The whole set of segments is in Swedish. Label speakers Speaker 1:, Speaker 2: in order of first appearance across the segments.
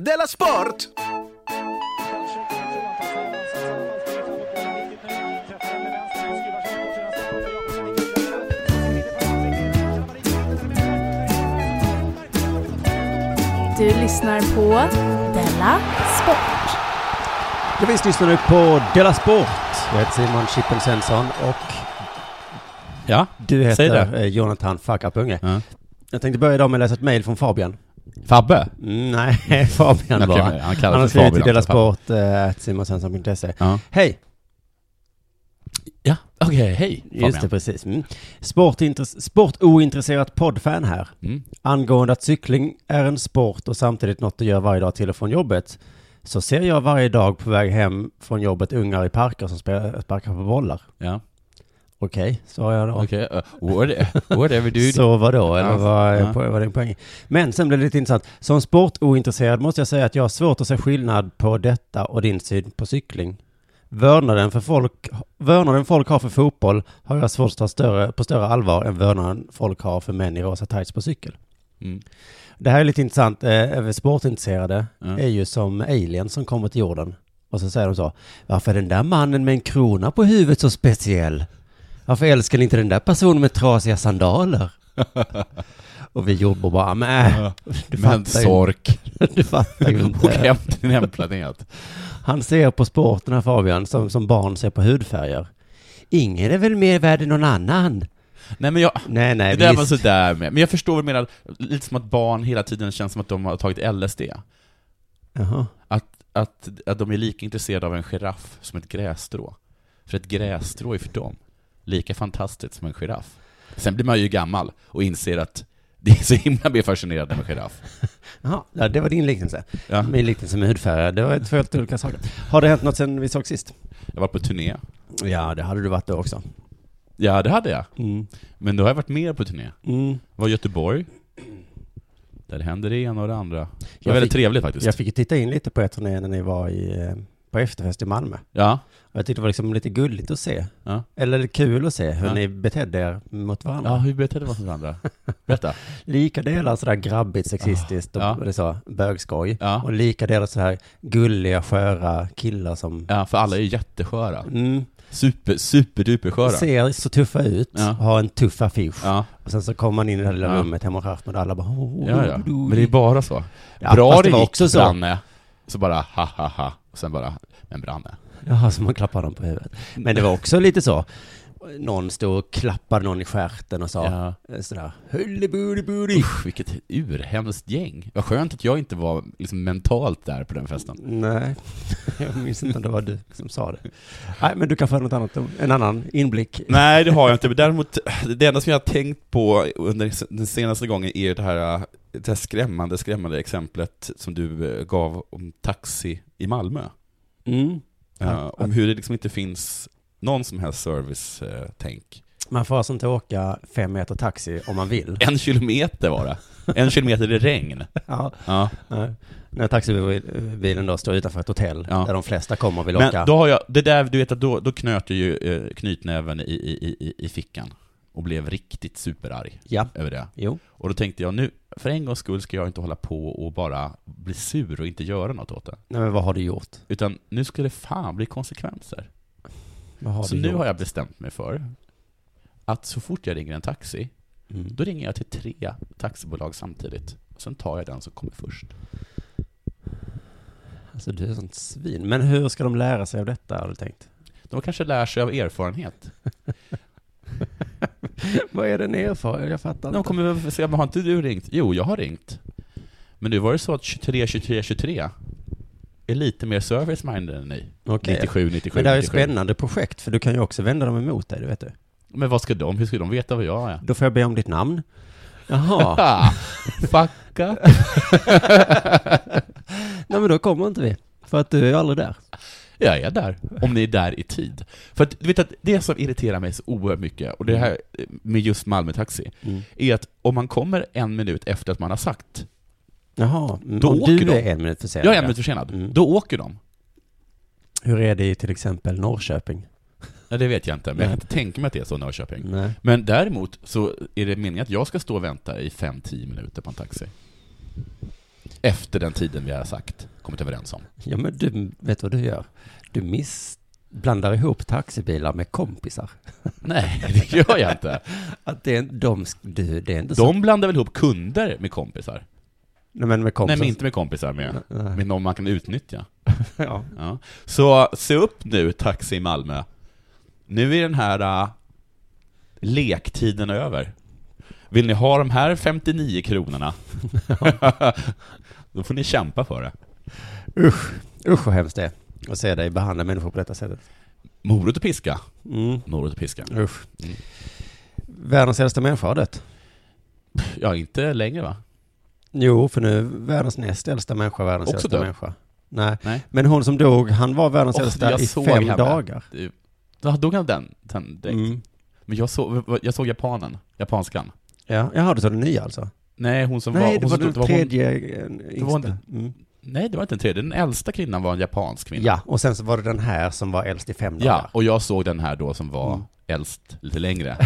Speaker 1: Della Sport!
Speaker 2: Du lyssnar på Della Sport.
Speaker 3: Ja, visst lyssnar du på Della Sport.
Speaker 4: Jag heter Simon Chippen Svensson och
Speaker 3: Ja,
Speaker 4: du
Speaker 3: Säg
Speaker 4: heter
Speaker 3: det.
Speaker 4: eh, Jonathan Fuck Up Unge.
Speaker 3: Ja.
Speaker 4: Jag tänkte börja idag med att läsa ett mejl från Fabian.
Speaker 3: Fabbe.
Speaker 4: Mm, Nej, Fabian
Speaker 3: Okej,
Speaker 4: bara.
Speaker 3: men han kallas
Speaker 4: Han har
Speaker 3: för
Speaker 4: skrivit till
Speaker 3: Fabian,
Speaker 4: Della
Speaker 3: alltså, Fabian.
Speaker 4: Sport, eh, simonsvensson.se.
Speaker 3: Ja,
Speaker 4: Hej!
Speaker 3: ja. okej, hej
Speaker 4: Just det, precis. Mm. Sportintress- Sportointresserat poddfan här.
Speaker 3: Mm.
Speaker 4: Angående att cykling är en sport och samtidigt något du gör varje dag till och från jobbet. Så ser jag varje dag på väg hem från jobbet ungar i parker som spelar- sparkar på bollar.
Speaker 3: Ja,
Speaker 4: Okej, svarar jag då.
Speaker 3: okej. Okay. What, whatever dude.
Speaker 4: Så vadå, eller
Speaker 3: Ja,
Speaker 4: vad
Speaker 3: ja.
Speaker 4: är, po- vad är din poäng? Men sen blev det lite intressant. Som sportointresserad måste jag säga att jag har svårt att se skillnad på detta och din syn på cykling. Vördnaden, för folk, vördnaden folk har för fotboll har jag svårt att ta större, på större allvar än vördnaden folk har för män i rosa tights på cykel.
Speaker 3: Mm.
Speaker 4: Det här är lite intressant. Eh, även sportintresserade
Speaker 3: Ja.
Speaker 4: är ju som aliens som kommer till jorden. Och så säger de så. Varför är den där mannen med en krona på huvudet så speciell? Varför älskar ni inte den där personen med trasiga sandaler? Och vi jordbor bara, men du
Speaker 3: Men
Speaker 4: fattar ju
Speaker 3: sork.
Speaker 4: inte. Du fattar ju
Speaker 3: Åk
Speaker 4: inte.
Speaker 3: hem till din hemplanet.
Speaker 4: Han ser på sport, den här Fabian, som, som barn ser på hudfärger. Ingen är väl mer värd än någon annan?
Speaker 3: Nej men jag...
Speaker 4: Nej, nej,
Speaker 3: Det där var
Speaker 4: visst.
Speaker 3: sådär med. Men jag förstår vad du menar. Lite som att barn hela tiden känns som att de har tagit LSD.
Speaker 4: Jaha.
Speaker 3: Att, att, att de är lika intresserade av en giraff som ett grässtrå. För ett grässtrå är för dem lika fantastiskt som en giraff. Sen blir man ju gammal och inser att det är så himla mer fascinerande med giraff.
Speaker 4: Jaha, ja, det var din liknelse.
Speaker 3: Ja.
Speaker 4: Min liknelse med hudfärger, det var två helt olika saker. Har det hänt något sen vi såg sist?
Speaker 3: Jag var på turné.
Speaker 4: Ja, det hade du varit då också.
Speaker 3: Ja, det hade jag.
Speaker 4: Mm.
Speaker 3: Men då har jag varit mer på turné.
Speaker 4: Mm.
Speaker 3: var i Göteborg. Där händer det ena och det andra. Det var
Speaker 4: Jag
Speaker 3: väldigt
Speaker 4: fick-
Speaker 3: trevligt faktiskt.
Speaker 4: Jag fick ju titta in lite på er turné när ni var i, eh, på efterfest i Malmö.
Speaker 3: Ja,
Speaker 4: Och jag tyckte det var liksom lite gulligt att se.
Speaker 3: Ja.
Speaker 4: Eller kul att se hur
Speaker 3: Ja.
Speaker 4: ni betedde er mot varandra.
Speaker 3: ja hur betedde vi oss mot varandra? Berätta.
Speaker 4: Lika delar sådär grabbigt, sexistiskt och
Speaker 3: Ja.
Speaker 4: eller så, bögskoj.
Speaker 3: Ja.
Speaker 4: Och lika delar sådär gulliga, sköra killar som
Speaker 3: Ja, för alla är ju jättesköra.
Speaker 4: mm,
Speaker 3: Super, superdupersköra.
Speaker 4: ser så tuffa ut,
Speaker 3: Ja.
Speaker 4: har en tuff affisch.
Speaker 3: Ja,
Speaker 4: Och sen så kommer man in i det där lilla
Speaker 3: Ja.
Speaker 4: rummet hemma hos Ahmed och alla bara oh,
Speaker 3: ja, ja. Men det är bara så.
Speaker 4: Ja,
Speaker 3: Bra
Speaker 4: fast
Speaker 3: det
Speaker 4: det var
Speaker 3: gick,
Speaker 4: också så.
Speaker 3: Branne. Så bara ha ha ha. Och sen bara, men Branne.
Speaker 4: Jaha, så man klappar dem på huvudet. Men det var också lite så. Någon stod och klappade någon i stjärten och sa
Speaker 3: Ja.
Speaker 4: Eh, sådär hullibulibuli.
Speaker 3: Usch, vilket urhemskt gäng. Vad skönt att jag inte var liksom mentalt där på den festen.
Speaker 4: Nej, jag minns inte om det var du som sa det. Nej, men du kan få något annat, om- en annan inblick.
Speaker 3: Nej, det har jag inte. Men däremot, det enda som jag har tänkt på under den senaste gången är det här, äh, det här skrämmande, skrämmande exemplet som du eh, gav om taxi i Malmö.
Speaker 4: Mm.
Speaker 3: Eh, om hur det liksom inte finns någon som helst service-tänk.
Speaker 4: Man får alltså inte åka fem meter taxi om man vill.
Speaker 3: En kilometer var det. En kilometer i regn.
Speaker 4: Ja,
Speaker 3: Ja.
Speaker 4: nej. När taxibilen då står utanför ett hotell
Speaker 3: Ja.
Speaker 4: där de flesta kommer och vill åka.
Speaker 3: Men då har jag, det där, du vet att då, då knöt jag ju eh, knytnäven i, i, i- i, i fickan. Och blev riktigt superarg
Speaker 4: Ja,
Speaker 3: över det.
Speaker 4: jo.
Speaker 3: Och då tänkte jag nu, för en gångs skull ska jag inte hålla på och bara bli sur och inte göra något åt det.
Speaker 4: Nej, men vad har du gjort?
Speaker 3: Utan nu ska det fan bli konsekvenser.
Speaker 4: Vad Alltså, har
Speaker 3: så
Speaker 4: du
Speaker 3: nu
Speaker 4: gjort?
Speaker 3: har jag bestämt mig för att så fort jag ringer en taxi,
Speaker 4: Mm.
Speaker 3: då ringer jag till tre taxibolag samtidigt. Och sen tar jag den som kommer först.
Speaker 4: Alltså du är sånt svin. Men hur ska de lära sig av detta har du tänkt?
Speaker 3: De kanske lär sig av erfarenhet.
Speaker 4: Vad är den erfarenhet? Jag fattar
Speaker 3: De
Speaker 4: inte.
Speaker 3: kommer väl säga, "Men har inte du ringt? Jo, jag har ringt. Men nu var det så att 23, 23, 23 är lite mer service-minded än ni.
Speaker 4: Okej.
Speaker 3: 97, 97,
Speaker 4: Men det här är ett
Speaker 3: 97.
Speaker 4: spännande projekt för du kan ju också vända dem emot dig, det vet du.
Speaker 3: Men vad ska de, hur ska de veta vad jag är?
Speaker 4: Då får jag be om ditt namn. Jaha.
Speaker 3: Ah, fuck up.
Speaker 4: Nej men då kommer inte vi. För att du är aldrig där.
Speaker 3: Jag är där, om ni är där i tid. För att, du vet att det som irriterar mig så oerhört mycket, och det här eh, med just Malmö Taxi,
Speaker 4: Mm.
Speaker 3: är att om man kommer en minut efter att man har sagt,
Speaker 4: Jaha.
Speaker 3: Då
Speaker 4: Då
Speaker 3: åker
Speaker 4: du
Speaker 3: de.
Speaker 4: är en minut försenad.
Speaker 3: jag är en minut försenad,
Speaker 4: Mm.
Speaker 3: då åker de.
Speaker 4: Hur är det i till exempel Norrköping?
Speaker 3: Ja, det vet jag inte, men jag
Speaker 4: Nej.
Speaker 3: kan inte tänka mig att det är så i Norrköping.
Speaker 4: Nej.
Speaker 3: Men däremot så är det meningen att jag ska stå och vänta i 5-10 minuter på en taxi. Efter den tiden vi har sagt, kommit överens om.
Speaker 4: Ja, men du vet vad du gör? Du miss blandar ihop taxibilar med kompisar.
Speaker 3: Nej, det gör jag inte.
Speaker 4: Att det är, de, du, det är inte så.
Speaker 3: De blandar väl ihop kunder med kompisar?
Speaker 4: Nej, men med kompisar.
Speaker 3: Nej, men inte med kompisar, med, med någon man kan utnyttja.
Speaker 4: Ja.
Speaker 3: Ja. Så se upp nu, Taxi i Malmö. Nu är den här äh, lektiden över. Vill ni ha de här 59 kronorna? Då får ni kämpa för det.
Speaker 4: Usch, usch vad hemskt det är att se dig behandla människor på detta sättet.
Speaker 3: Morot och piska.
Speaker 4: Mm.
Speaker 3: Morot och piska.
Speaker 4: Usch.
Speaker 3: Mm.
Speaker 4: Världens äldsta människa har dött.
Speaker 3: Ja, inte längre va?
Speaker 4: Jo, för nu världens näst äldsta människa, världens
Speaker 3: Också
Speaker 4: äldsta
Speaker 3: död?
Speaker 4: människa. Nej.
Speaker 3: Nej.
Speaker 4: men hon som dog, han var världens
Speaker 3: Åh,
Speaker 4: äldsta
Speaker 3: jag
Speaker 4: i
Speaker 3: såg
Speaker 4: fem
Speaker 3: henne.
Speaker 4: dagar.
Speaker 3: Du- Då dog han den, den direkt.
Speaker 4: Mm.
Speaker 3: Men jag såg, jag såg japanen, japanskan.
Speaker 4: Ja, jaha, du sa den nya alltså?
Speaker 3: Nej, hon som var...
Speaker 4: Nej, det
Speaker 3: hon
Speaker 4: var
Speaker 3: som
Speaker 4: den
Speaker 3: stod- hon-
Speaker 4: tredje eh,
Speaker 3: Det var
Speaker 4: yngsta. Mm.
Speaker 3: Nej, det var inte den tredje. Den äldsta kvinnan var en japansk kvinna.
Speaker 4: Ja, och sen så var det den här som var äldst i fem
Speaker 3: Ja,
Speaker 4: dagar.
Speaker 3: och jag såg den här då som var
Speaker 4: Mm.
Speaker 3: äldst lite längre.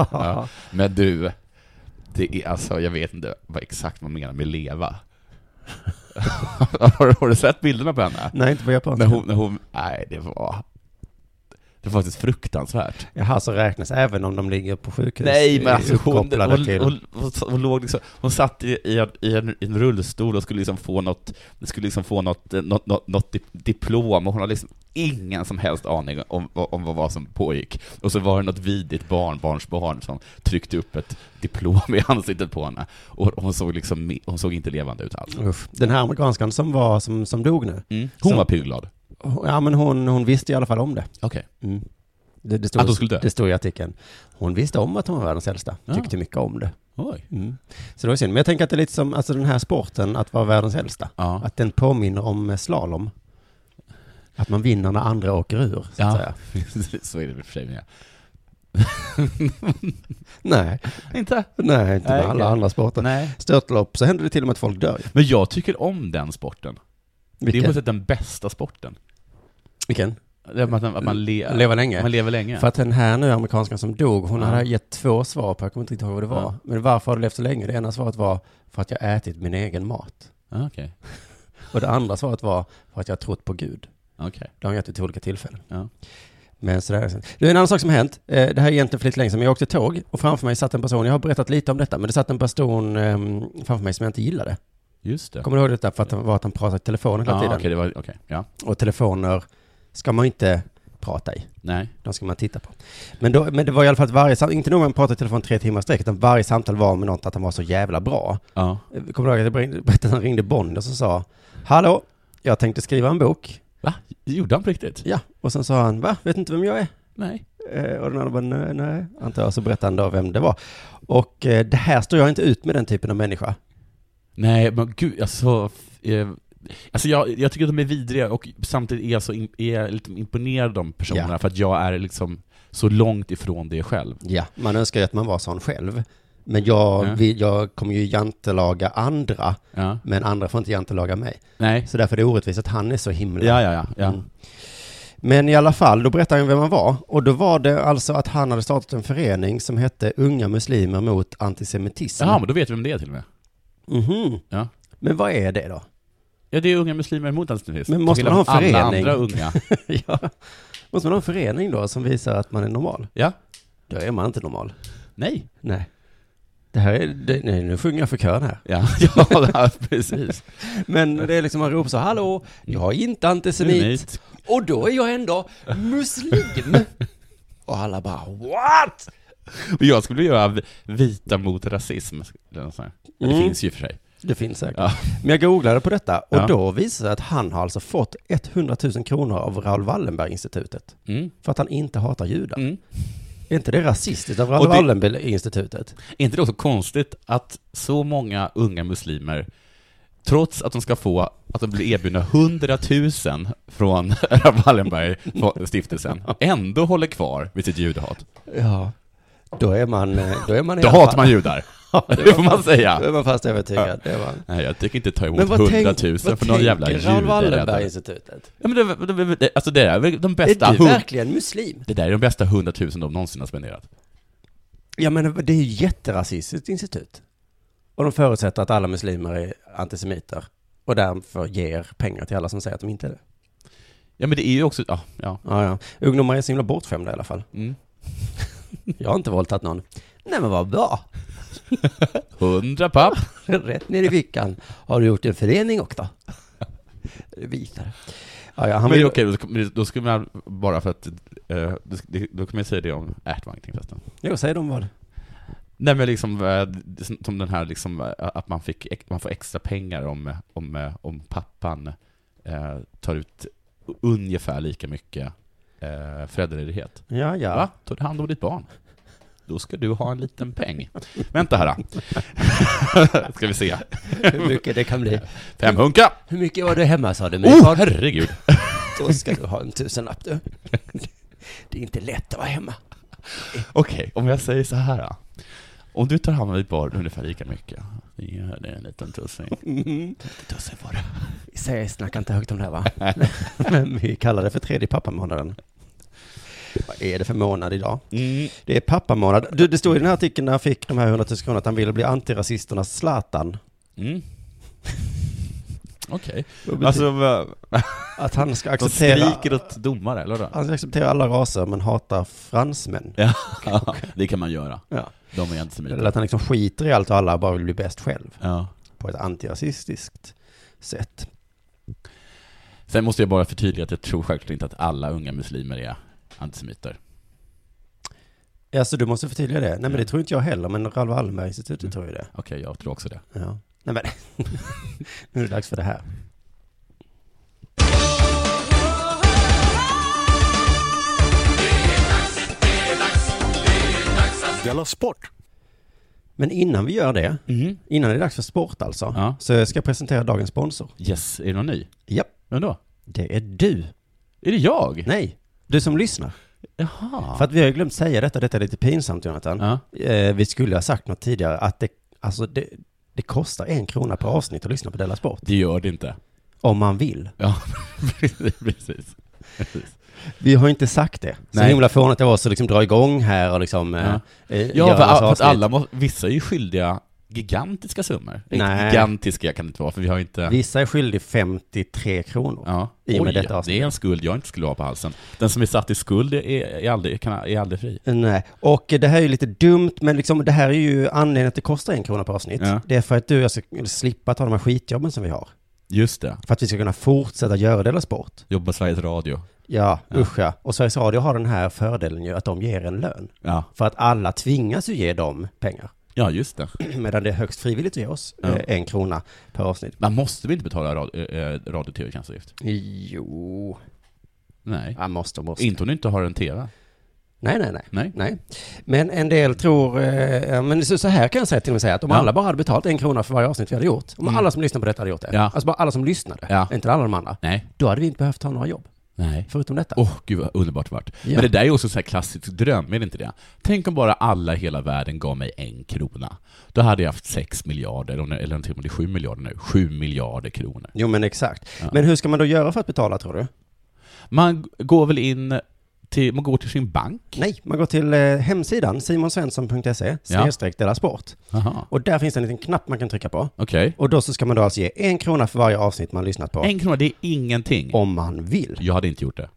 Speaker 3: Ja. Men du, det är alltså, jag vet inte vad exakt man menar med leva. har, du- har du sett bilderna på henne?
Speaker 4: Nej, inte på japanska.
Speaker 3: När hon, när hon, nej det var, det var faktiskt fruktansvärt.
Speaker 4: Jaha, så räknas även om de ligger på sjukhus?
Speaker 3: Nej men
Speaker 4: i-
Speaker 3: alltså hon, hon,
Speaker 4: uppkopplade
Speaker 3: hon,
Speaker 4: till-
Speaker 3: hon, hon, låg liksom, hon satt i, i, en, i en- i en rullstol och skulle liksom få något, skulle liksom få något, eh, något, något, något dip- diplom och hon har liksom ingen som helst aning om, om vad- vad som pågick. Och så var det något vidigt barnbarnsbarn som tryckte upp ett diplom i ansiktet på henne. Och hon såg liksom, me- hon såg inte levande ut alls.
Speaker 4: Usch. Den här amerikanskan som var, som, som dog nu.
Speaker 3: Mm. Hon
Speaker 4: Så-
Speaker 3: var pigglad.
Speaker 4: Ja, men hon, hon visste i alla fall om det.
Speaker 3: Okej.
Speaker 4: Mm. Det, det, stod,
Speaker 3: Att hon skulle dö?
Speaker 4: det stod i artikeln. Hon visste om att hon var världens äldsta.
Speaker 3: Ja.
Speaker 4: Tyckte mycket om det.
Speaker 3: Oj.
Speaker 4: Mm. Så det var synd. Men jag tänker att det är lite som alltså, den här sporten, att vara världens äldsta.
Speaker 3: Ja.
Speaker 4: Att den påminner om eh, slalom. Att man vinner när andra åker ur, så att
Speaker 3: Ja,
Speaker 4: säga.
Speaker 3: så är det i och för sig med.
Speaker 4: Nej,
Speaker 3: Inte?
Speaker 4: nej, inte med
Speaker 3: Nej,
Speaker 4: alla
Speaker 3: okej.
Speaker 4: andra sporter.
Speaker 3: Nej.
Speaker 4: Störtlopp, så händer det till och med att folk dör.
Speaker 3: Men jag tycker om den sporten. Det är på
Speaker 4: Vilken?
Speaker 3: sätt den bästa sporten.
Speaker 4: Vilken?
Speaker 3: Det är Att man, att man, le,
Speaker 4: Leva länge?
Speaker 3: man lever länge.
Speaker 4: För att den här nu, amerikanskan som dog, hon
Speaker 3: Ja.
Speaker 4: hade gett två svar på, jag kommer inte riktigt ihåg vad det var.
Speaker 3: Ja.
Speaker 4: Men varför har du levt så länge? Det ena svaret var för att jag ätit min egen mat.
Speaker 3: Ah, Okej.
Speaker 4: Och det andra svaret var för att jag har trott på Gud.
Speaker 3: Okej.
Speaker 4: Det har hon gett vid två olika tillfällen.
Speaker 3: Ja.
Speaker 4: Men sådär. är det. Du, en annan sak som har hänt, eh, det här är egentligen för lite länge sedan, men jag åkte tåg och framför mig satt en person, jag har berättat lite om detta, men det satt en person ehm, framför mig som jag inte gillade.
Speaker 3: Just det.
Speaker 4: Kommer du ihåg detta? För att det var att han pratade i telefonen hela
Speaker 3: ah,
Speaker 4: tiden.
Speaker 3: Okej, det var, okej. ja.
Speaker 4: Och telefoner ska man ju inte prata i.
Speaker 3: Nej.
Speaker 4: De ska man titta på. Men, då, men det var i alla fall att varje samtal, inte nog med att prata i telefon tre timmar i sträck, utan varje samtal var med något att han var så jävla bra.
Speaker 3: Ja.
Speaker 4: Eh, Kommer du ihåg att jag berättade- berättade att han ringde Bonnier som sa, Hallå, jag tänkte skriva en bok.
Speaker 3: Va? Gjorde han på riktigt?
Speaker 4: Ja, och sen sa han, va? Vet inte vem jag är?
Speaker 3: Nej.
Speaker 4: Eh, Och den andra bara, nej, nej, antar jag. Så berättade han då vem det var. Och eh, det här står jag inte ut med den typen av människa.
Speaker 3: Nej, men gud, alltså... f- Eh, alltså jag, jag tycker att de är vidriga och samtidigt är jag så in, är jag lite imponerad av de personerna
Speaker 4: Ja.
Speaker 3: för att jag är liksom så långt ifrån det själv.
Speaker 4: Ja, man önskar ju att man var sån själv. Men jag,
Speaker 3: Ja.
Speaker 4: vill, jag kommer ju jantelaga andra,
Speaker 3: Ja.
Speaker 4: men andra får inte jantelaga mig.
Speaker 3: Nej.
Speaker 4: Så därför är det orättvist att han är så himla
Speaker 3: Ja, ja, ja. ja.
Speaker 4: Mm. Men i alla fall, då berättade han vem han var. Och då var det alltså att han hade startat en förening som hette Unga Muslimer mot Antisemitism.
Speaker 3: Jaha, men då vet vi vem det är till och med.
Speaker 4: Mhm.
Speaker 3: Ja.
Speaker 4: Men vad är det då?
Speaker 3: Ja, det är unga muslimer mot antisemitism.
Speaker 4: Men måste
Speaker 3: Till
Speaker 4: man ha en
Speaker 3: skillnad från
Speaker 4: förening?
Speaker 3: Alla andra unga.
Speaker 4: ja. Måste man ha en förening då som visar att man är normal?
Speaker 3: Ja.
Speaker 4: Då är man inte normal.
Speaker 3: Nej.
Speaker 4: Nej. Det här är, det, nej, nu sjunger jag för kön här.
Speaker 3: Ja, ja, ja precis.
Speaker 4: Men det är liksom, man ropar så, hallå, jag är inte antisemit.
Speaker 3: Semit.
Speaker 4: Och då är jag ändå muslim. Och alla bara, what?
Speaker 3: Men Jag skulle göra v- vita mot rasism. eller något sånt här. Det
Speaker 4: Mm.
Speaker 3: finns ju för sig.
Speaker 4: Det finns säkert.
Speaker 3: Ja.
Speaker 4: Men jag googlade på detta och
Speaker 3: Ja.
Speaker 4: då visade det sig att han har alltså fått 100 000 kronor av Raoul Wallenberg-institutet.
Speaker 3: Mm.
Speaker 4: För att han inte hatar judar.
Speaker 3: Mm.
Speaker 4: Är inte det rasistiskt av Raoul
Speaker 3: Och det-
Speaker 4: Wallenberg-institutet?
Speaker 3: Är inte det också konstigt att så många unga muslimer, trots att de ska få, att de blir erbjudna 100 000 från Wallenberg-stiftelsen, ändå håller kvar vid sitt judehat?
Speaker 4: Ja. Då är man... eh, Då är man i
Speaker 3: Då
Speaker 4: alla
Speaker 3: hatar
Speaker 4: fall-
Speaker 3: man judar,
Speaker 4: Ja, det
Speaker 3: det får man
Speaker 4: Då är
Speaker 3: säga.
Speaker 4: man fast övertygad. Det är man.
Speaker 3: Nej, jag tänker inte ta
Speaker 4: Men
Speaker 3: emot
Speaker 4: vad,
Speaker 3: 100 000
Speaker 4: tänk, vad
Speaker 3: för någon jävla
Speaker 4: tänker Raoul
Speaker 3: juderäddare.
Speaker 4: Wallenberg-institutet?
Speaker 3: Ja, men det, det, det, alltså det där är väl de
Speaker 4: Är
Speaker 3: bästa...
Speaker 4: du
Speaker 3: hun-
Speaker 4: verkligen muslim?
Speaker 3: det där är de bästa 100 000 de någonsin har spenderat.
Speaker 4: Ja, men det är ju jätterasistiskt institut. Och de förutsätter att alla muslimer är antisemiter. och därför ger pengar till alla som säger att de inte är det.
Speaker 3: Ja men det är ju också, ja, ja.
Speaker 4: Ja, ja. Ungdomar är så himla bortskämda i alla fall.
Speaker 3: Mm.
Speaker 4: Jag har inte våldtagit någon. Nej men vad bra.
Speaker 3: 100 papp!
Speaker 4: Rätt ner i fickan. Har du gjort en förening också? Visar. Ja, ja, han
Speaker 3: men
Speaker 4: vill...
Speaker 3: okej, då ska- då ska man bara för att, eh, då, ska- då kan man ju säga det om ärtbankning förresten.
Speaker 4: Jo, säg de vad.
Speaker 3: Nej men liksom, eh, det- som den här liksom, eh, att man, fick, ex- man får extra pengar om, eh, om, eh, om pappan eh, tar ut ungefär lika mycket eh, föräldraledighet.
Speaker 4: Ja, ja.
Speaker 3: Va? Tar du hand om ditt barn? Då ska du ha en liten peng. Vänta här då. Ska vi se.
Speaker 4: Hur mycket det kan bli.
Speaker 3: Femhunka!
Speaker 4: Hur mycket var du hemma sa du? Men
Speaker 3: Oh, herregud!
Speaker 4: då ska du ha en tusenlapp du. Det är inte lätt att vara hemma.
Speaker 3: Okej, om jag säger så här då. Om du tar hand om ditt barn ungefär lika mycket, ja, det är en liten tussing.
Speaker 4: Mm-hmm.
Speaker 3: Tusen var det.
Speaker 4: Vi säger, snacka inte högt om det här va? Men vi kallar det för tredje pappamånaden. Vad är det för månad idag?
Speaker 3: Mm.
Speaker 4: Det är pappamånad. Du, det stod i den här artikeln när han fick de här 100 000 kronorna att han ville bli antirasisternas Zlatan.
Speaker 3: Mm. Okej.
Speaker 4: Vad betyder-
Speaker 3: Alltså, vad-
Speaker 4: Att han ska
Speaker 3: de
Speaker 4: acceptera,
Speaker 3: skriker åt domare, eller vadå?
Speaker 4: han ska acceptera alla raser men hatar fransmän.
Speaker 3: Ja, det kan man göra.
Speaker 4: Ja.
Speaker 3: De är
Speaker 4: Eller
Speaker 3: antisemiter.
Speaker 4: att han liksom skiter i allt och alla och bara vill bli bäst själv.
Speaker 3: Ja.
Speaker 4: På ett antirasistiskt sätt.
Speaker 3: Sen måste jag bara förtydliga att jag tror självklart inte att alla unga muslimer är antisemiter.
Speaker 4: Alltså du måste förtydliga det. Nej men det tror inte jag heller, men Raoul
Speaker 3: Mm.
Speaker 4: Wallenberg-institutet tror ju det.
Speaker 3: Okej, jag tror också det.
Speaker 4: Ja. Nej men, nu är det dags för det här.
Speaker 1: Della Sport!
Speaker 4: Men innan vi gör det,
Speaker 3: Mm.
Speaker 4: innan det är dags för sport alltså,
Speaker 3: Ja.
Speaker 4: så ska jag presentera dagens sponsor.
Speaker 3: Yes, är det någon ny?
Speaker 4: Japp,
Speaker 3: Vem då?
Speaker 4: det är du.
Speaker 3: Är det jag?
Speaker 4: Nej, du som lyssnar.
Speaker 3: Jaha.
Speaker 4: För att vi har ju glömt säga detta, detta är lite pinsamt Jonathan.
Speaker 3: Ja.
Speaker 4: Eh, vi skulle ha sagt något tidigare, att det, alltså det, det kostar en krona per avsnitt att lyssna på Della Sport.
Speaker 3: Det gör det inte.
Speaker 4: Om man vill.
Speaker 3: Ja, precis. precis.
Speaker 4: Vi har ju inte sagt det. Så
Speaker 3: Nej.
Speaker 4: himla fånigt det var så liksom dra igång här och liksom... eh,
Speaker 3: Ja.
Speaker 4: eh,
Speaker 3: Ja,
Speaker 4: göra
Speaker 3: för,
Speaker 4: massa
Speaker 3: för att
Speaker 4: avsnitt.
Speaker 3: alla må, vissa är ju skyldiga gigantiska summor.
Speaker 4: Nej.
Speaker 3: Gigantiska kan det inte vara, för vi har ju inte...
Speaker 4: Vissa är skyldig 53 kronor.
Speaker 3: ja.
Speaker 4: i och med
Speaker 3: Oj,
Speaker 4: detta avsnitt.
Speaker 3: det är en skuld jag inte skulle ha på halsen. Den som är satt i skuld är, är, aldrig, kan, är aldrig fri.
Speaker 4: Nej, och det här är ju lite dumt, men liksom, det här är ju anledningen att det kostar en krona per avsnitt.
Speaker 3: Ja.
Speaker 4: Det är för att du och jag ska slippa ta de här skitjobben som vi har.
Speaker 3: Just det.
Speaker 4: För att vi ska kunna fortsätta göra Della Sport.
Speaker 3: Jobba Sveriges Radio.
Speaker 4: Ja, usch ja. Och Sveriges Radio har den här fördelen ju, att de ger en lön.
Speaker 3: Ja,
Speaker 4: För att alla tvingas ju ge dem pengar.
Speaker 3: ja just det.
Speaker 4: Medan det är högst frivilligt att ge oss
Speaker 3: Ja.
Speaker 4: eh, en krona per avsnitt.
Speaker 3: Man måste väl inte betala radio, eh, radio och tv-tjänstavgift?
Speaker 4: Jo,
Speaker 3: Nej.
Speaker 4: ja, måste och måste.
Speaker 3: Inte om du inte har en tv.
Speaker 4: Nej, nej, nej.
Speaker 3: Nej.
Speaker 4: Nej. Men en del tror, eh, ja, men så, så här kan jag säga till och med säga att om
Speaker 3: Ja.
Speaker 4: alla bara hade betalt en krona för varje avsnitt vi hade gjort, om
Speaker 3: Mm.
Speaker 4: alla som lyssnade på detta hade gjort det,
Speaker 3: Ja.
Speaker 4: alltså bara alla som lyssnade,
Speaker 3: Ja.
Speaker 4: inte alla de andra,
Speaker 3: Nej.
Speaker 4: då hade vi inte behövt ha några jobb,
Speaker 3: Nej.
Speaker 4: förutom detta.
Speaker 3: Åh, gud vad underbart det vart.
Speaker 4: Ja.
Speaker 3: Men det där är ju också en sån här klassisk dröm, är det inte det? Tänk om bara alla i hela världen gav mig en krona. Då hade jag haft sex miljarder, om det- eller till och med det är sju miljarder nu, sju miljarder kronor.
Speaker 4: Jo men exakt.
Speaker 3: Ja.
Speaker 4: Men hur ska man då göra för att betala tror du?
Speaker 3: Man g- går väl in till, man går till sin bank?
Speaker 4: Nej, man går till eh, hemsidan simonsvensson.se, snedstreck dela sport.
Speaker 3: Aha.
Speaker 4: Och där finns det en liten knapp man kan trycka på.
Speaker 3: Okej.
Speaker 4: Och då så ska man då alltså ge en krona för varje avsnitt man lyssnat på.
Speaker 3: En krona, det är ingenting.
Speaker 4: Om man vill.
Speaker 3: Jag hade inte gjort det.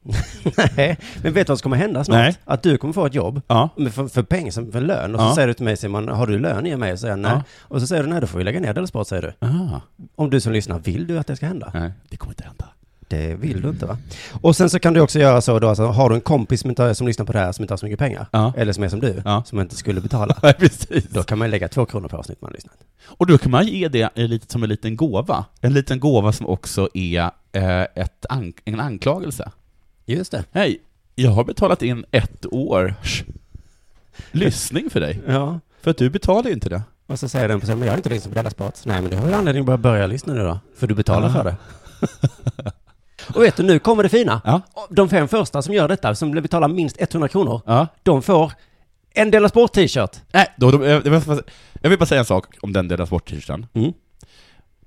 Speaker 4: Nej, men vet du vad som kommer hända snart?
Speaker 3: Nej.
Speaker 4: Att du kommer få ett jobb
Speaker 3: Ja.
Speaker 4: Men för, för pengar, som för lön. Och så
Speaker 3: Ja.
Speaker 4: säger du till mig, Simon, har du lön i mig? Och säger jag nej.
Speaker 3: Ja.
Speaker 4: Och så säger du nej, då får vi lägga ner Della Sport, säger du.
Speaker 3: Aha.
Speaker 4: Om du som lyssnar, vill du att det ska hända?
Speaker 3: Nej, det kommer inte hända.
Speaker 4: Det vill du inte va? Och sen så kan du också göra så då, alltså, har du en kompis som, inte, har- som lyssnar på det här som inte har så mycket pengar,
Speaker 3: Ja.
Speaker 4: eller som är som du,
Speaker 3: Ja.
Speaker 4: som inte skulle betala,
Speaker 3: Nej, precis.
Speaker 4: då kan man ju lägga två kronor per avsnitt man har lyssnat.
Speaker 3: Och då kan man ge det en liten- som en liten gåva. En liten gåva som också är eh, ett an- en anklagelse.
Speaker 4: Just det.
Speaker 3: Hej, jag har betalat in ett års lyssning för dig.
Speaker 4: Ja.
Speaker 3: För att du betalar ju inte det.
Speaker 4: Och så säger den personen, men jag har inte lyssnat på Della Sport. Nej, men du har ju anledning att bara börja lyssna nu då, för du betalar
Speaker 3: Ja.
Speaker 4: för det. Och vet du, nu kommer det fina.
Speaker 3: Ja.
Speaker 4: De fem första som gör detta, som betalar minst 100 kronor,
Speaker 3: Ja.
Speaker 4: De får en Della Sport-t-shirt.
Speaker 3: Nej, då, då, jag, jag vill bara- jag vill bara säga en sak om den delas bort t-shirten.
Speaker 4: Mm.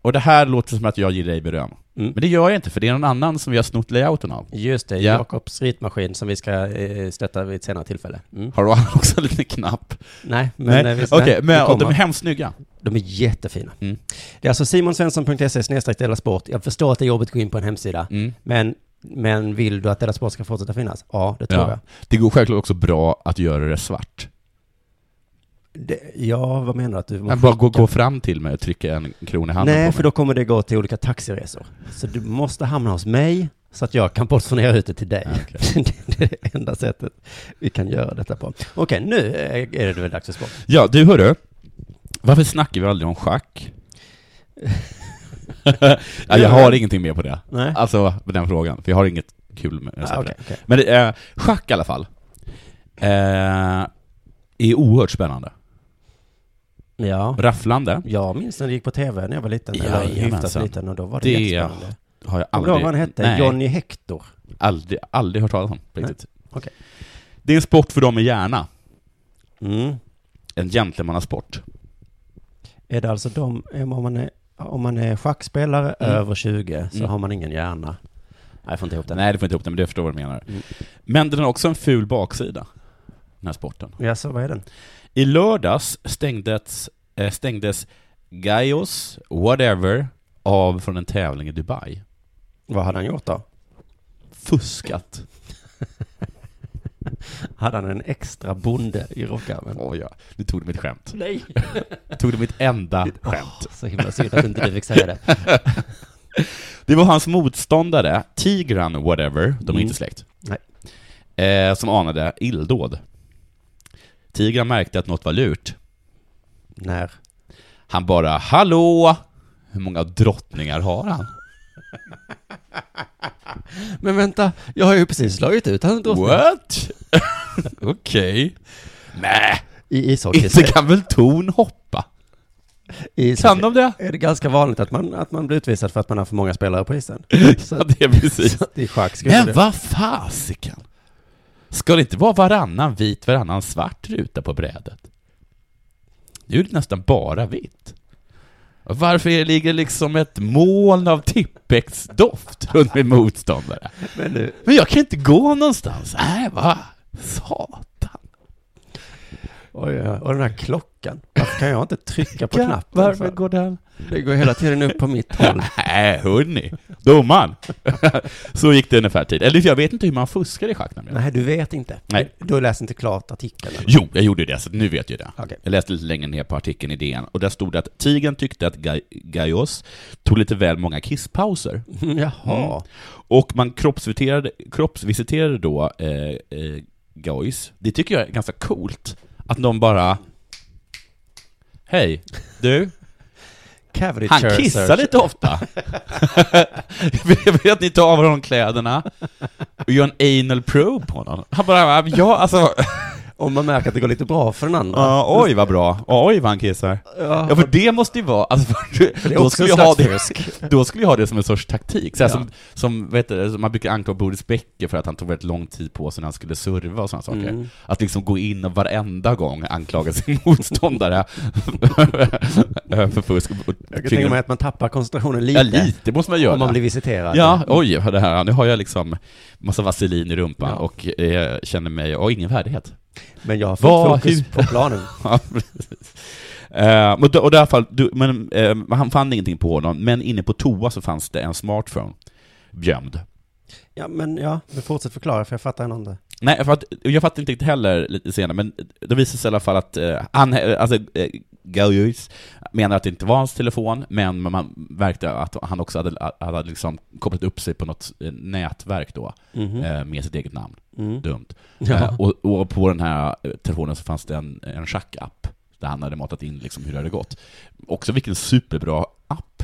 Speaker 3: Och det här låter som att jag ger dig beröm.
Speaker 4: Mm.
Speaker 3: Men det gör jag inte, för det är någon annan som vi har snott layouten av.
Speaker 4: Just det,
Speaker 3: Ja.
Speaker 4: Jakobs ritmaskin som vi ska eh, stötta vid ett senare tillfälle. Mm.
Speaker 3: Har du också en liten knapp?
Speaker 4: Nej, men eh,
Speaker 3: Okej,
Speaker 4: visst, nej,
Speaker 3: men
Speaker 4: det
Speaker 3: och de är
Speaker 4: kommer.
Speaker 3: hemskt snygga.
Speaker 4: De är jättefina.
Speaker 3: Mm.
Speaker 4: Det är alltså simonsvensson.se snedstreck Della Sport. Jag förstår att det är jobbigt att gå in på en hemsida.
Speaker 3: Mm.
Speaker 4: Men, men vill du att Della Sport ska fortsätta finnas? Ja, det tror
Speaker 3: Ja.
Speaker 4: jag.
Speaker 3: Det går självklart också bra att göra det svart.
Speaker 4: Det, ja, vad menar du? Att du måste
Speaker 3: Men bara gå,
Speaker 4: skicka-
Speaker 3: gå fram till mig och trycka en krona i handen
Speaker 4: Nej,
Speaker 3: på
Speaker 4: för
Speaker 3: mig.
Speaker 4: då kommer det gå till olika taxiresor. Så du måste hamna hos mig så att jag kan portionera ut det till dig.
Speaker 3: Ja, okej.
Speaker 4: det är det enda sättet vi kan göra detta på. Okej, nu eh, är det väl dags för sport.
Speaker 3: Ja, du hörru. Varför snackar vi aldrig om schack? ja, jag har ingenting mer på det.
Speaker 4: Nej?
Speaker 3: Alltså, på den frågan. För jag har inget kul med
Speaker 4: Ah, okej, okej.
Speaker 3: Men det, eh, schack i alla fall. Eh, är oerhört spännande.
Speaker 4: Ja.
Speaker 3: Rafflande
Speaker 4: Jag minns när det gick på tv när jag var liten, eller
Speaker 3: Jajamensan.
Speaker 4: hyfsat liten, och då var det,
Speaker 3: Det-
Speaker 4: jättespännande.
Speaker 3: har jag
Speaker 4: Kommer du ihåg
Speaker 3: aldrig...
Speaker 4: vad han hette?
Speaker 3: Nej,
Speaker 4: Johnny Hector.
Speaker 3: aldrig, aldrig hört talas om på
Speaker 4: Nej.
Speaker 3: riktigt.
Speaker 4: Okej.
Speaker 3: Det är en sport för dem med hjärna.
Speaker 4: Mm.
Speaker 3: En gentlemannasport.
Speaker 4: Är det alltså de, om man är, om man är schackspelare
Speaker 3: Mm.
Speaker 4: över 20 så
Speaker 3: Mm.
Speaker 4: har man ingen hjärna? Nej, jag får inte ihop det.
Speaker 3: Nej, du får inte ihop det, men du förstår vad du menar.
Speaker 4: Mm.
Speaker 3: Men den har också en ful baksida, den här sporten.
Speaker 4: Ja, så vad är den?
Speaker 3: I lördags stängdes, eh, stängdes Gaios Whatever av från en tävling i Dubai.
Speaker 4: Vad hade han gjort då?
Speaker 3: Fuskat.
Speaker 4: Hade han en extra bonde i rockärmen?
Speaker 3: Åh ja, nu tog du mitt skämt.
Speaker 4: Nej!
Speaker 3: Tog du mitt enda skämt.
Speaker 4: Så himla synd att inte du fick säga det.
Speaker 3: Det var hans motståndare, Tigran Whatever, de är
Speaker 4: Mm.
Speaker 3: inte släkt,
Speaker 4: Nej.
Speaker 3: eh, som anade illdåd. Tigran märkte att något var lurt.
Speaker 4: När?
Speaker 3: Han bara ”Hallå!” Hur många drottningar har han?
Speaker 4: Men vänta, jag har ju precis slagit ut hans
Speaker 3: What? Okej. Nej,
Speaker 4: I ishockey.
Speaker 3: inte kan väl ton hoppa?
Speaker 4: I
Speaker 3: Kan
Speaker 4: ishockey.
Speaker 3: de det?
Speaker 4: Är det ganska vanligt att man, att man blir utvisad för att man har för många spelare på isen? Så
Speaker 3: Ja, det är precis.
Speaker 4: så att i schack skulle
Speaker 3: Men
Speaker 4: det...
Speaker 3: vad fasiken? Ska det inte vara varannan vit, varannan svart ruta på brädet? Nu är det nästan bara vitt. Varför är- ligger liksom ett moln av Tippex-doft runt min motståndare?
Speaker 4: Men nu,
Speaker 3: Men jag kan inte gå någonstans. Nej, va? Satan.
Speaker 4: oj, oj, oj. och den här klockan. Varför kan jag inte trycka på knappen?
Speaker 3: Varför
Speaker 4: för?
Speaker 3: går den?
Speaker 4: Det går hela tiden upp på mitt håll.
Speaker 3: Nej, hörni. Domaren. Så gick det ungefär tid. Eller jag vet inte hur man fuskar i schack nämligen.
Speaker 4: Nej, du vet inte.
Speaker 3: Nej.
Speaker 4: Du har läst inte klart artikeln. eller?
Speaker 3: Jo, jag gjorde det, så nu vet jag det.
Speaker 4: Okej.
Speaker 3: Jag läste lite längre ner på artikeln i DN och där stod det att tigern tyckte att Gai- Gaios tog lite väl många kisspauser.
Speaker 4: Mm, Jaha.
Speaker 3: Och man kroppsvisiterade, kroppsvisiterade då eh, eh, Gaios. Det tycker jag är ganska coolt. Att någon bara... Hej, du.
Speaker 4: Cavity
Speaker 3: Han
Speaker 4: chair
Speaker 3: kissar
Speaker 4: search.
Speaker 3: lite ofta. jag vill att ni tar av honom kläderna och gör en anal probe på honom. Han bara, ja alltså,
Speaker 4: Om man märker att det går lite bra för den andra.
Speaker 3: ja, oj vad bra, oj vad han kissar.
Speaker 4: Ja.
Speaker 3: Ja, för det måste ju vara, alltså, för,
Speaker 4: det är
Speaker 3: då,
Speaker 4: också
Speaker 3: skulle jag
Speaker 4: en
Speaker 3: ha
Speaker 4: slags
Speaker 3: det, då skulle jag ha det som en sorts taktik, så här
Speaker 4: Ja.
Speaker 3: som, som, vet du, som man brukar anklaga Boris Becker för att han tog väldigt lång tid på sig när han skulle serva och sådana saker.
Speaker 4: Mm.
Speaker 3: Att liksom gå in och varenda gång anklaga sin motståndare för fusk. och- och-
Speaker 4: Jag kan tänka mig att man tappar koncentrationen lite.
Speaker 3: Ja, lite måste man göra.
Speaker 4: Om man blir visiterad.
Speaker 3: Ja, oj, hör det här, nu har jag liksom massa vaselin i rumpan
Speaker 4: Ja.
Speaker 3: och eh, känner mig, jag har ingen värdighet.
Speaker 4: Men jag har fullt
Speaker 3: Vad-
Speaker 4: fokus
Speaker 3: hur-
Speaker 4: på planen.
Speaker 3: Ja, precis. Eh, men då- och i alla fall, du, men, eh, han fann ingenting på honom, men inne på toa så fanns det en smartphone gömd.
Speaker 4: Ja, men ja, men fortsätt förklara för jag fattar ändå inte.
Speaker 3: Nej, för att, jag fattar inte riktigt heller lite senare, men det visade sig i alla fall att eh, han, eh, alltså eh, Gauss menar att det inte var hans telefon, men man märkte att han också hade, hade liksom kopplat upp sig på något eh, nätverk då,
Speaker 4: Mhm.
Speaker 3: eh, med sitt eget namn.
Speaker 4: Mm.
Speaker 3: Dumt.
Speaker 4: Ja.
Speaker 3: Eh, och, och på den här eh, telefonen så fanns det en, en schackapp där han hade matat in liksom hur det hade gått. Också vilken superbra app.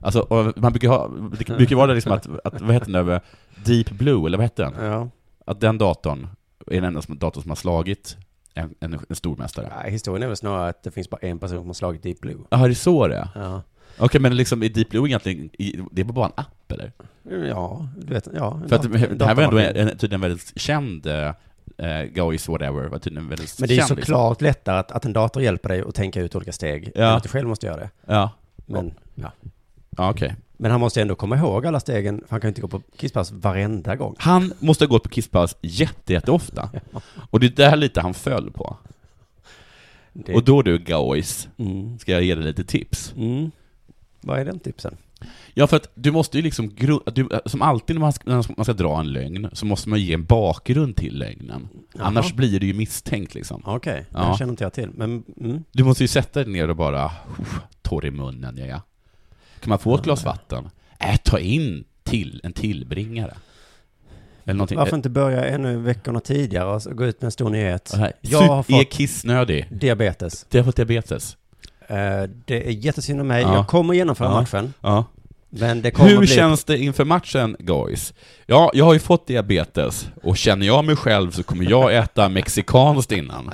Speaker 3: Alltså, och man brukar ha, det brukar vara det liksom att, att, vad heter den där, Deep Blue, eller vad heter den?
Speaker 4: Ja.
Speaker 3: Att den datorn är den enda som, datorn som har slagit en, en, en stormästare.
Speaker 4: Nej, historien är väl snarare att det finns bara en person som har slagit Deep Blue.
Speaker 3: Jaha, det är så det är?
Speaker 4: Ja,
Speaker 3: Okej, men liksom är Deep Blue egentligen, i- det är bara en app eller?
Speaker 4: ja du vet, ja.
Speaker 3: För att det- det här var ändå
Speaker 4: datamaskin.
Speaker 3: en, en, tydligen väldigt känd, eh, Goys whatever, var tydligen väldigt
Speaker 4: Men det är
Speaker 3: känd, liksom.
Speaker 4: såklart lättare att, att en dator hjälper dig att tänka ut olika steg.
Speaker 3: Ja.
Speaker 4: än Att du själv måste göra det.
Speaker 3: Ja,
Speaker 4: Men, ja.
Speaker 3: ja okej.
Speaker 4: men han måste ju ändå komma ihåg alla stegen. för Han kan ju inte gå på kisspass varenda gång.
Speaker 3: Han måste ha gått på kisspaus jätte, jätteofta. Och det är där lite han föll på.
Speaker 4: Det-
Speaker 3: Och då du, Gaois,
Speaker 4: Mm.
Speaker 3: ska jag ge dig lite tips.
Speaker 4: Mm. Vad är den tipsen?
Speaker 3: Ja, för att du måste ju liksom, gru- du, som alltid när man, ska, när man ska dra en lögn, så måste man ju ge en bakgrund till lögnen.
Speaker 4: Jaha.
Speaker 3: Annars blir du ju misstänkt liksom.
Speaker 4: Okej, okay.
Speaker 3: Ja.
Speaker 4: den känner inte jag till. Men, mm.
Speaker 3: Du måste ju sätta dig ner och bara, "Uff, torr i munnen, ja, ja. Kan man få ett glas vatten? Äh, ta in till, en tillbringare. Eller någonting.
Speaker 4: Varför inte börja ännu veckorna tidigare och så gå ut med en stor nyhet?
Speaker 3: Äh,
Speaker 4: Jag har
Speaker 3: sup- Är
Speaker 4: fått
Speaker 3: kissnödig.
Speaker 4: diabetes.
Speaker 3: Jag har fått diabetes.
Speaker 4: Eh, det är jättesynd om mig.
Speaker 3: Ja.
Speaker 4: Jag kommer genomföra
Speaker 3: Ja.
Speaker 4: matchen,
Speaker 3: Ja.
Speaker 4: men det kommer
Speaker 3: Hur
Speaker 4: bli...
Speaker 3: känns det inför matchen, guys? Ja, jag har ju fått diabetes, och känner jag mig själv så kommer jag äta mexikanskt innan.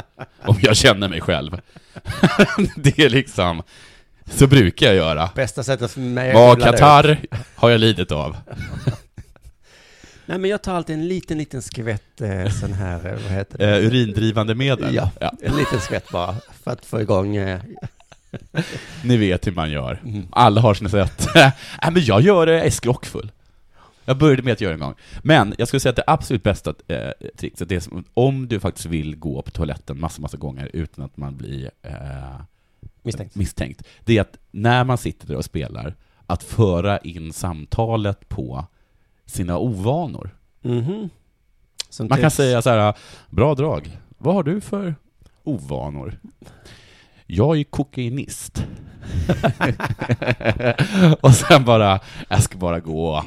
Speaker 3: Om jag känner mig själv. det är liksom, så brukar jag göra.
Speaker 4: Bästa sättet för mig att
Speaker 3: Vad
Speaker 4: kolla Eh, det.
Speaker 3: Qatar har jag lidit av.
Speaker 4: Nej, men jag tar alltid en liten, liten skvätt eh, sån här, eh, vad heter
Speaker 3: Eh,
Speaker 4: det?
Speaker 3: urindrivande medel.
Speaker 4: Ja. En liten skvätt bara, för att få igång... Eh, mm,
Speaker 3: Ni vet hur man gör. Alla har sina sätt. Nej, men jag gör det, jag är skrockfull. Jag började med att göra det en gång. Men jag skulle säga att det absolut bästa eh, trickset, det är som, om du faktiskt vill gå på toaletten massa, massa gånger utan att man blir eh,
Speaker 4: misstänkt.
Speaker 3: misstänkt, det är att när man sitter där och spelar, att föra in samtalet på sina ovanor.
Speaker 4: Mhm. Som
Speaker 3: Mm. Man kan
Speaker 4: tips.
Speaker 3: säga så här, bra drag, vad har du för ovanor? Jag är ju kokainist. och sen bara, jag ska bara gå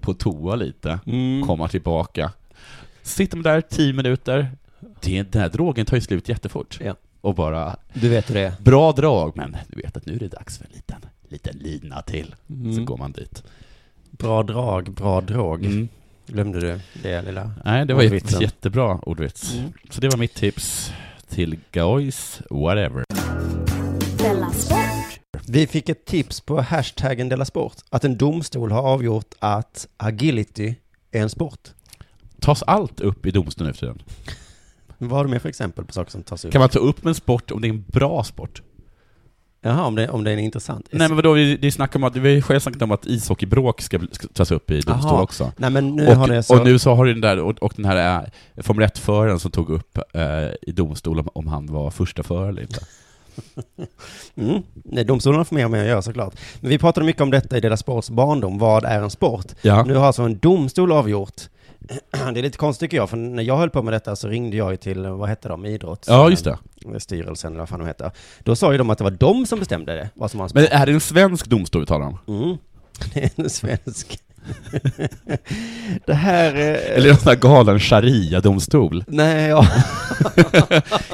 Speaker 3: på toa lite,
Speaker 4: Mm.
Speaker 3: komma tillbaka. Sitter man där tio minuter, det, den här drogen tar ju slut jättefort.
Speaker 4: Ja.
Speaker 3: Och bara,
Speaker 4: Du vet hur det är.
Speaker 3: bra drag, men du vet att nu är det dags för en liten, liten lina till. Så
Speaker 4: Mm.
Speaker 3: går man dit.
Speaker 4: Bra drag, bra drag.
Speaker 3: Mm.
Speaker 4: Glömde du det lilla?
Speaker 3: Nej, det var ju ett
Speaker 4: Ordvitsen.
Speaker 3: jättebra ordvits. Så det var mitt tips till guys, whatever.
Speaker 2: Della Sport.
Speaker 4: Vi fick ett tips på hashtaggen Della Sport. Att en domstol har avgjort att agility är en sport.
Speaker 3: Tas allt upp i domstolen nu för tiden?
Speaker 4: Vad har du mer för exempel på saker som tas upp?
Speaker 3: Kan man ta upp en sport om det är en bra sport?
Speaker 4: Jaha, om det, om det är en intressant.
Speaker 3: Nej men vadå, vi, det är snack om att, vi har ju själv snackat om att ishockeybråk ska, bli- ska tas upp i domstol
Speaker 4: Aha.
Speaker 3: också.
Speaker 4: Nej, men nu har det
Speaker 3: Och,
Speaker 4: så...
Speaker 3: och nu så har du den där, och, och den här eh, Formel 1-föraren som tog upp eh, i domstol om, om han var första förare eller inte.
Speaker 4: Mm. Nej, domstolarna får mer med att göra såklart. Men vi pratade mycket om detta i Della Sports barndom. Vad är en sport?
Speaker 3: Ja.
Speaker 4: Nu har alltså en domstol avgjort. Det är lite konstigt tycker jag, för när jag höll på med detta så ringde jag ju till, vad hette de, idrotts... Eh,
Speaker 3: ja, just det.
Speaker 4: Styrelsen eller vad fan de heter. Då sa ju de att det var de som bestämde det, vad som var en
Speaker 3: Men är det en svensk domstol vi talar om?
Speaker 4: Mm. Det är en svensk. det här... eh,
Speaker 3: Eller är det en sån här galen sharia-domstol?
Speaker 4: Nej, ja.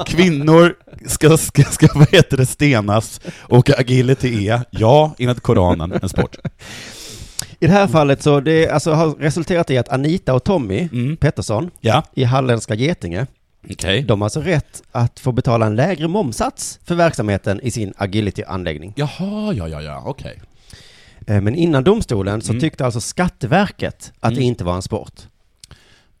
Speaker 3: Kvinnor ska, ska, ska, vad heter det, stenas och agility är, ja, enligt Koranen, en sport.
Speaker 4: I det här fallet så det alltså har resulterat i att Anita och Tommy
Speaker 3: Mm.
Speaker 4: Pettersson
Speaker 3: Ja,
Speaker 4: i Halländska Getinge,
Speaker 3: okej.
Speaker 4: de har alltså rätt att få betala en lägre momsats för verksamheten i sin agility-anläggning.
Speaker 3: Jaha, ja, ja, ja, okej.
Speaker 4: Eh, Men innan domstolen så
Speaker 3: Mm.
Speaker 4: tyckte alltså Skatteverket att det
Speaker 3: Mm.
Speaker 4: inte var en sport.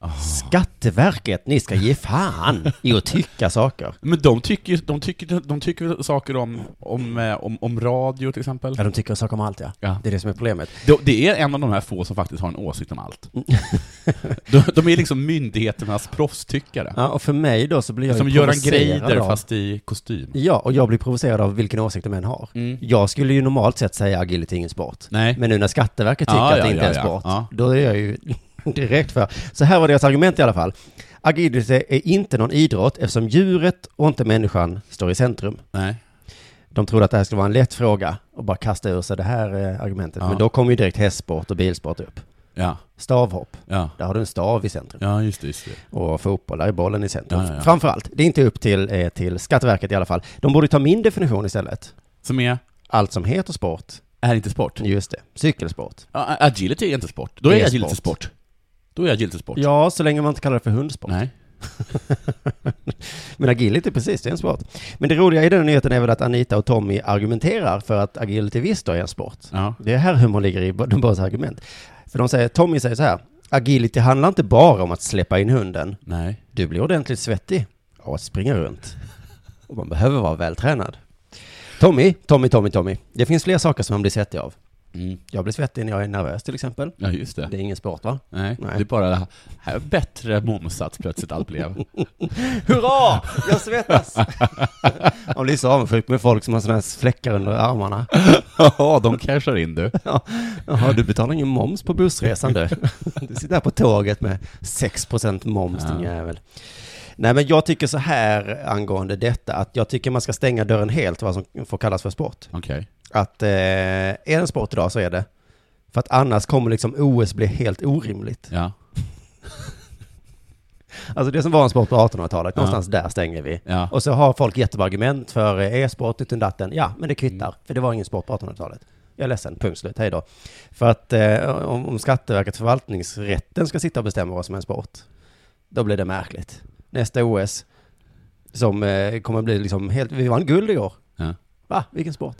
Speaker 3: Ah.
Speaker 4: Skatteverket, ni ska ge fan i att tycka saker.
Speaker 3: Men de tycker, de tycker, de tycker saker om, om, eh, om, om radio till exempel.
Speaker 4: Ja, de tycker saker om allt ja.
Speaker 3: Ja.
Speaker 4: Det är det som är problemet.
Speaker 3: De- Det är en av de här få som faktiskt har en åsikt om allt. De, de är liksom myndigheternas proffstyckare.
Speaker 4: Ja, och för mig då så blir jag ju
Speaker 3: Som Göran
Speaker 4: provocerad
Speaker 3: Greider
Speaker 4: av-
Speaker 3: fast i kostym.
Speaker 4: Ja, och jag blir provocerad av vilken åsikt de än har.
Speaker 3: Mm.
Speaker 4: Jag skulle ju normalt sett säga agility är ingen sport.
Speaker 3: Nej.
Speaker 4: Men nu när Skatteverket tycker
Speaker 3: Ja,
Speaker 4: att
Speaker 3: ja,
Speaker 4: det inte
Speaker 3: ja,
Speaker 4: är en
Speaker 3: ja.
Speaker 4: sport,
Speaker 3: Ja.
Speaker 4: då är jag ju direkt för. Så här var deras argument i alla fall. Agility är inte någon idrott eftersom djuret och inte människan står i centrum.
Speaker 3: Nej.
Speaker 4: De trodde att det här skulle vara en lätt fråga och bara kasta ur sig det här eh, argumentet.
Speaker 3: Ja.
Speaker 4: Men då kom ju direkt hästsport och bilsport upp.
Speaker 3: Ja.
Speaker 4: Stavhopp,
Speaker 3: Ja.
Speaker 4: där har du en stav i centrum.
Speaker 3: Ja, just det, just det.
Speaker 4: Och fotboll, där är bollen i centrum.
Speaker 3: Ja, ja, ja.
Speaker 4: Framför allt, det är inte upp till, eh, till Skatteverket i alla fall. De borde ta min definition istället.
Speaker 3: Som är,
Speaker 4: Allt som heter sport,
Speaker 3: är inte sport.
Speaker 4: just det, cykelsport.
Speaker 3: Ja, agility är inte sport. Då är,
Speaker 4: Det är
Speaker 3: agility
Speaker 4: sport.
Speaker 3: sport. Då är agility sport.
Speaker 4: Ja, så länge man inte kallar det för hundsport.
Speaker 3: Nej.
Speaker 4: Men agility, precis, det är en sport. Men det roliga i den nyheten är väl att Anita och Tommy argumenterar för att agility visst då är en sport.
Speaker 3: Ja.
Speaker 4: Det är här humorn ligger i de bådas argument. För de säger, Tommy säger så här, agility handlar inte bara om att släppa in hunden.
Speaker 3: Nej.
Speaker 4: Du blir ordentligt svettig av att springa runt. Och man behöver vara vältränad. Tommy, Tommy, Tommy, Tommy. Det finns fler saker som man blir svettig av.
Speaker 3: Mm.
Speaker 4: Jag blir svettig när jag är nervös till exempel.
Speaker 3: Ja, just det.
Speaker 4: Det är ingen sport va?
Speaker 3: Nej,
Speaker 4: Nej.
Speaker 3: det är bara här är bättre momsats plötsligt allt blev.
Speaker 4: Hurra! Jag svettas! Man blir så avundsjuk med folk som har sådana här fläckar under armarna.
Speaker 3: Ja, de cashar in du.
Speaker 4: Jaha, du betalar ingen moms på bussresan du. Du sitter här på tåget med 6% moms din
Speaker 3: Ja.
Speaker 4: jävel. Nej men jag tycker så här angående detta att jag tycker man ska stänga dörren helt vad som får kallas för sport.
Speaker 3: Okej.
Speaker 4: Att eh, är det en sport idag så är det. För att annars kommer liksom OS bli helt orimligt.
Speaker 3: Ja,
Speaker 4: Alltså det som var en sport på 1800-talet,
Speaker 3: Ja.
Speaker 4: någonstans där stänger vi.
Speaker 3: ja.
Speaker 4: Och så har folk jättebra argument för eh, e-sport utan datten. Ja, men det kvittar,
Speaker 3: Mm.
Speaker 4: för det var ingen sport på 1800-talet. Jag är ledsen, punkt slut, hej då. För att eh, om, om Skatteverkets förvaltningsrätten ska sitta och bestämma vad som är en sport, då blir det märkligt. Nästa OS, som eh, kommer bli liksom helt, vi vann guld igår.
Speaker 3: Ja.
Speaker 4: Va, vilken sport?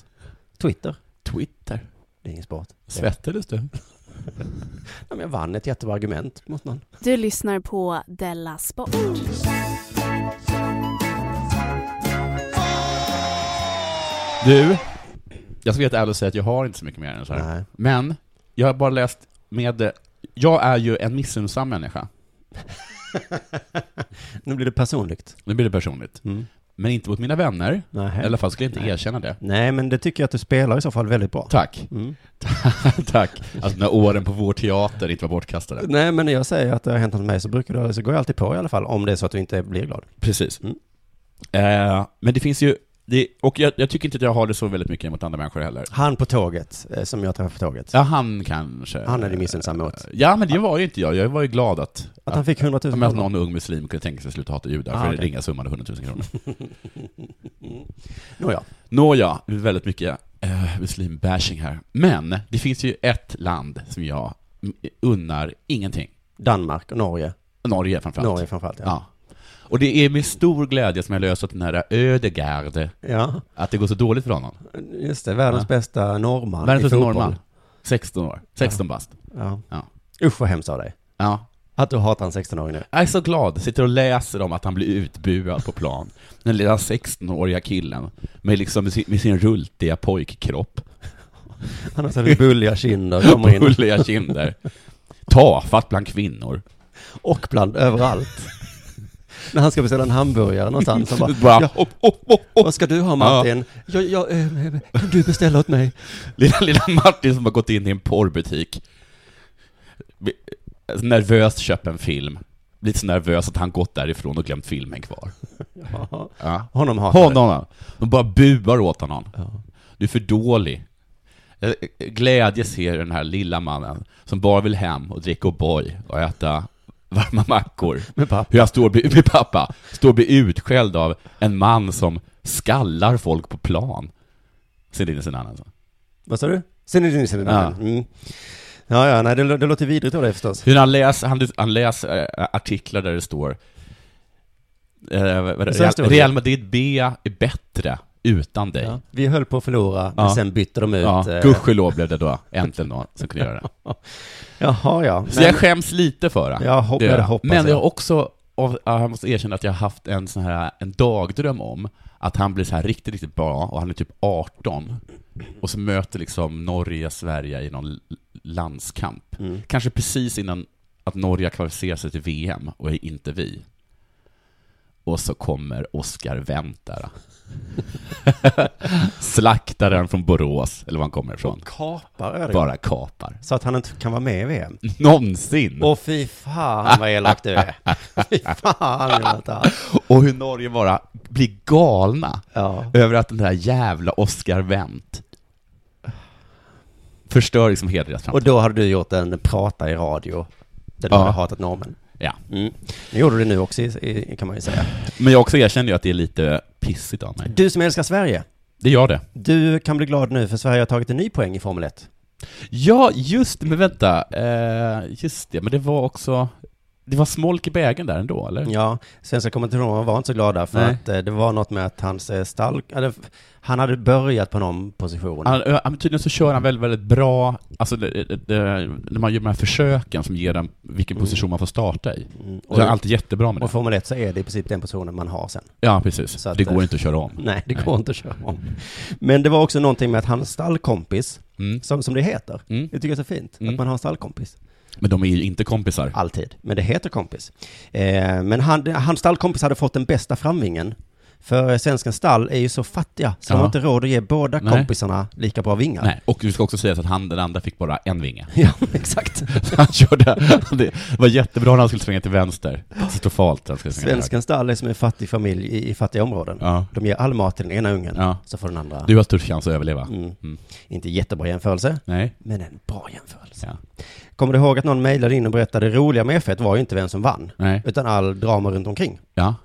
Speaker 4: Twitter,
Speaker 3: Twitter.
Speaker 4: det är ingen sport.
Speaker 3: Svettades du?
Speaker 4: Ja, men jag vann ett jättebra argument mot någon.
Speaker 2: Du lyssnar på Della Sport.
Speaker 3: Du, jag ska helt ärligt säga att jag har inte så mycket mer än så här.
Speaker 4: Nej.
Speaker 3: Men, jag har bara läst med... Jag är ju en missunnsam människa.
Speaker 4: nu blir det personligt.
Speaker 3: Nu blir det personligt.
Speaker 4: Mm.
Speaker 3: Men inte mot mina vänner.
Speaker 4: Nej.
Speaker 3: I alla fall skulle jag inte
Speaker 4: Nej.
Speaker 3: erkänna det.
Speaker 4: Nej, men det tycker jag att du spelar i så fall väldigt bra.
Speaker 3: Tack.
Speaker 4: Mm.
Speaker 3: Tack. Alltså när åren på vår teater inte var bortkastade.
Speaker 4: Nej, men när jag säger att det har hänt något med mig så brukar det, så går jag alltid på i alla fall, om det är så att du inte blir glad.
Speaker 3: Precis.
Speaker 4: Mm.
Speaker 3: Eh, men det finns ju, det, och jag, jag tycker inte att jag har det så väldigt mycket mot andra människor heller.
Speaker 4: Han på tåget, eh, som jag träffade på tåget,
Speaker 3: Ja, han kanske. Eh,
Speaker 4: han är det missunnsam mot.
Speaker 3: Ja, men det var ju inte jag. Jag var ju glad att,
Speaker 4: Att han fick 100 000
Speaker 3: men att
Speaker 4: kronor.
Speaker 3: någon ung muslim kunde tänka sig att sluta hata judar
Speaker 4: Ah,
Speaker 3: för
Speaker 4: okej.
Speaker 3: den ringa summan av 100 000 kronor.
Speaker 4: Nåja.
Speaker 3: Nåja, det är väldigt mycket eh, muslimbashing här. Men det finns ju ett land som jag mm, unnar ingenting.
Speaker 4: Danmark och Norge.
Speaker 3: Norge framförallt.
Speaker 4: Norge framförallt, ja.
Speaker 3: Ja. Och det är med stor glädje som jag löst att den här Ödegaard,
Speaker 4: Ja,
Speaker 3: att det går så dåligt för honom.
Speaker 4: just det. Världens
Speaker 3: Ja.
Speaker 4: bästa norrman
Speaker 3: Världens
Speaker 4: i
Speaker 3: bästa
Speaker 4: fotboll.
Speaker 3: norrman. 16 år. 16 bast.
Speaker 4: Ja.
Speaker 3: Ja.
Speaker 4: Usch vad hemskt av dig.
Speaker 3: Ja.
Speaker 4: Att du hatar en 16-åring nu.
Speaker 3: Jag är så glad, sitter och läser om att han blir utbuad på plan. Den lilla 16-åriga killen med, liksom, med, sin, med sin rultiga pojkkropp,
Speaker 4: Han har så här bulliga kinder, kommer in.
Speaker 3: bulliga kinder, tafatt bland kvinnor.
Speaker 4: Och bland, överallt. När han ska beställa en hamburgare någonstans, han bara,
Speaker 3: Bara, oh,
Speaker 4: ja,
Speaker 3: hopp, hopp, hopp, hopp.
Speaker 4: vad ska du ha Martin? Ja. Jag, jag, eh, kan du beställa åt mig?
Speaker 3: Lilla, lilla Martin som har gått in i en porrbutik, Vi- nervöst köper en film, lite så nervös att han gått därifrån och glömt filmen kvar.
Speaker 4: Ja.
Speaker 3: Ja.
Speaker 4: Honom hatar du.
Speaker 3: Honom, de bara buar åt honom.
Speaker 4: Ja.
Speaker 3: Du är för dålig. Eh, Glädje ser den här lilla mannen som bara vill hem och dricka O'boy och äta varma mackor.
Speaker 4: Med pappa.
Speaker 3: Hur han står och blir, med pappa, står och blir utskälld av en man som skallar folk på plan. Zinedine Zidane alltså.
Speaker 4: Vad sa du? Zinedine Zidane. Ja.
Speaker 3: Ja.
Speaker 4: Mm. ja, ja, nej, det, lå- det låter vidrigt av dig förstås.
Speaker 3: Hur han läser, han, han läser eh, artiklar där det står eh, vad är det?
Speaker 4: Så här står
Speaker 3: Real,
Speaker 4: det.
Speaker 3: Real Madrid B är bättre utan dig.
Speaker 4: Ja.
Speaker 3: Ja,
Speaker 4: Vi höll på att förlora, men
Speaker 3: Ja.
Speaker 4: sen bytte de ut. eh,
Speaker 3: gudskelov blev det då äntligen någon som kunde göra det.
Speaker 4: Jaha, ja.
Speaker 3: Så
Speaker 4: Men,
Speaker 3: jag skäms lite för det.
Speaker 4: jag hopp,
Speaker 3: Det gör
Speaker 4: jag
Speaker 3: jag.
Speaker 4: hoppas
Speaker 3: Men jag
Speaker 4: jag.
Speaker 3: har också, och jag måste erkänna att jag har haft en sån här, en dagdröm om att han blir så här riktigt, riktigt bra och han är typ 18 och så möter liksom Norge Sverige i någon l- landskamp.
Speaker 4: Mm.
Speaker 3: Kanske precis innan att Norge kvalificerar sig till VM och är inte vi. Och så kommer Oscar Wendt där. Slaktaren från Borås, eller var han kommer ifrån.
Speaker 4: Kapar Ödegaard.
Speaker 3: Bara kapar.
Speaker 4: Så att han inte kan vara med i VM.
Speaker 3: Någonsin!
Speaker 4: Åh fy fan vad elak du är. fy fan Jonathan.
Speaker 3: Och hur Norge bara blir galna
Speaker 4: Ja.
Speaker 3: över att den där jävla Oscar Wendt förstör liksom hela deras
Speaker 4: Och
Speaker 3: framtid.
Speaker 4: då hade du gjort en prata i radio. Där du
Speaker 3: Ja.
Speaker 4: hade hatat normen.
Speaker 3: Ja.
Speaker 4: Mm. Nu gjorde du det nu också, i- i- kan man ju säga.
Speaker 3: Men jag också erkänner ju att det är lite pissigt av mig.
Speaker 4: Du som älskar Sverige.
Speaker 3: Det gör det.
Speaker 4: Du kan bli glad nu för Sverige har tagit en ny poäng i Formel 1.
Speaker 3: Ja, just det, men vänta. Eh, just det, men det var också... det var smolk i bägaren där ändå, eller?
Speaker 4: Ja, svenska kommentatorerna var inte så glada för
Speaker 3: Nej.
Speaker 4: att eh, det var något med att hans eh, stall... Eller, han hade börjat på någon position.
Speaker 3: Han, ö, han, tydligen så kör han väldigt, väldigt bra, alltså det, det, det, när man gör de här försöken som ger en vilken position man får starta i.
Speaker 4: Mm.
Speaker 3: Så är han
Speaker 4: Och,
Speaker 3: alltid jättebra med
Speaker 4: och
Speaker 3: det.
Speaker 4: Formel 1 så är det i princip den positionen man har sen.
Speaker 3: Ja, precis.
Speaker 4: Så att,
Speaker 3: det
Speaker 4: eh,
Speaker 3: går inte att köra om.
Speaker 4: Nej, det
Speaker 3: Mm. Nej.
Speaker 4: går inte att köra om. Men det var också någonting med att hans stallkompis,
Speaker 3: Mm.
Speaker 4: som, som det heter,
Speaker 3: Mm.
Speaker 4: det tycker jag är så fint,
Speaker 3: Mm.
Speaker 4: att man har en stallkompis.
Speaker 3: Men de är ju inte kompisar.
Speaker 4: Alltid. Men det heter kompis. Eh, men han, hans stallkompis hade fått den bästa framvingen. För svenska stall är ju så fattiga, så de
Speaker 3: Ja.
Speaker 4: har inte råd att ge båda
Speaker 3: Nej.
Speaker 4: kompisarna lika bra vingar.
Speaker 3: Nej, och vi ska också säga att han, den andra fick bara en vinge.
Speaker 4: Ja, exakt.
Speaker 3: Han körde, det var jättebra när han skulle svänga till vänster. Katastrofalt när han skulle svänga till
Speaker 4: Svenska stall är som en fattig familj i, i fattiga områden.
Speaker 3: höger. Ja.
Speaker 4: De ger all mat till den ena ungen,
Speaker 3: Ja.
Speaker 4: så får den andra...
Speaker 3: Du har stor chans att överleva.
Speaker 4: Mm.
Speaker 3: Mm.
Speaker 4: Inte jättebra jämförelse,
Speaker 3: Nej.
Speaker 4: men en bra jämförelse.
Speaker 3: Ja.
Speaker 4: Kommer du ihåg att någon mejlade in och berättade det roliga med F1 var ju inte vem som vann,
Speaker 3: Nej.
Speaker 4: utan all drama runt omkring.
Speaker 3: Ja.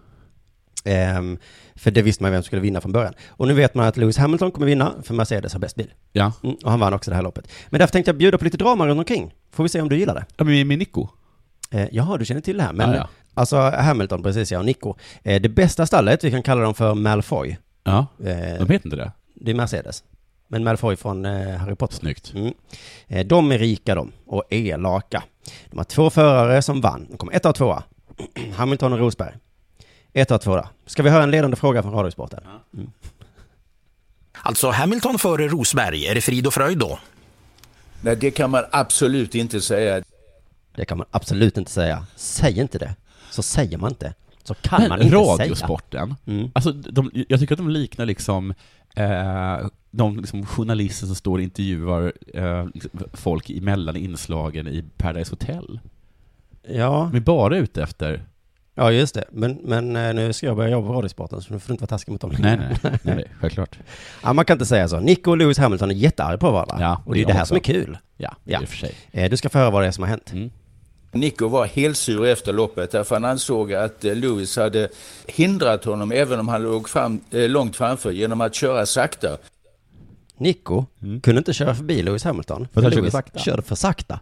Speaker 4: Ehm, för det visste man vem som skulle vinna från början. Och nu vet man att Lewis Hamilton kommer vinna, för Mercedes har bäst bil.
Speaker 3: Ja.
Speaker 4: Mm, och han vann också det här loppet. Men därför tänkte jag bjuda på lite drama runt omkring. Får vi se om du gillar det.
Speaker 3: ja men med Nico.
Speaker 4: Eh, jaha, du känner till det här, men...
Speaker 3: Ja, ja.
Speaker 4: Alltså Hamilton, precis ja, och Nico. Eh, det bästa stallet, vi kan kalla dem för Malfoy.
Speaker 3: Ja.
Speaker 4: Eh,
Speaker 3: De heter inte det.
Speaker 4: det är Mercedes. Men Malfoy från eh, Harry Potter.
Speaker 3: Snyggt.
Speaker 4: Mm. Eh, de är rika de, och elaka. De har två förare som vann. De kom ett av tvåa. Hamilton och Rosberg. Ett av tvåa. Ska vi höra en ledande fråga från Radiosporten?
Speaker 1: Alltså Hamilton före Rosberg, är det frid och fröjd då?
Speaker 5: Nej, det kan man absolut inte säga.
Speaker 4: Det kan man absolut inte säga. Säg inte det. Så säger man inte. Så kan man
Speaker 3: Men
Speaker 4: inte
Speaker 3: radiosporten,
Speaker 4: säga. Mm.
Speaker 3: alltså de, jag tycker att de liknar liksom eh, de liksom journalister som står och intervjuar eh, liksom folk emellan inslagen i Paradise Hotel.
Speaker 4: Ja,
Speaker 3: De är bara ute efter...
Speaker 4: ja just det. Men, men eh, nu ska jag börja jobba på Radiosporten så nu får du inte vara taskig mot dem längre.
Speaker 3: Nej, nej, nej, nej självklart.
Speaker 4: Ja, man kan inte säga så. Nico och Lewis Hamilton är jättearga på varandra.
Speaker 3: Ja,
Speaker 4: och det är
Speaker 3: jag
Speaker 4: det här
Speaker 3: också.
Speaker 4: som är kul.
Speaker 3: Ja,
Speaker 4: Ja.
Speaker 3: i och för sig.
Speaker 4: Eh, Du ska få höra vad det är som har hänt.
Speaker 3: Mm.
Speaker 5: Nico var helt sur efter loppet därför han ansåg att eh, Lewis hade hindrat honom även om han låg fram, eh, långt framför genom att köra sakta.
Speaker 4: Nico kunde inte köra förbi Lewis Hamilton.
Speaker 3: Mm. han körde
Speaker 4: Lewis
Speaker 3: sakta.
Speaker 4: körde för sakta.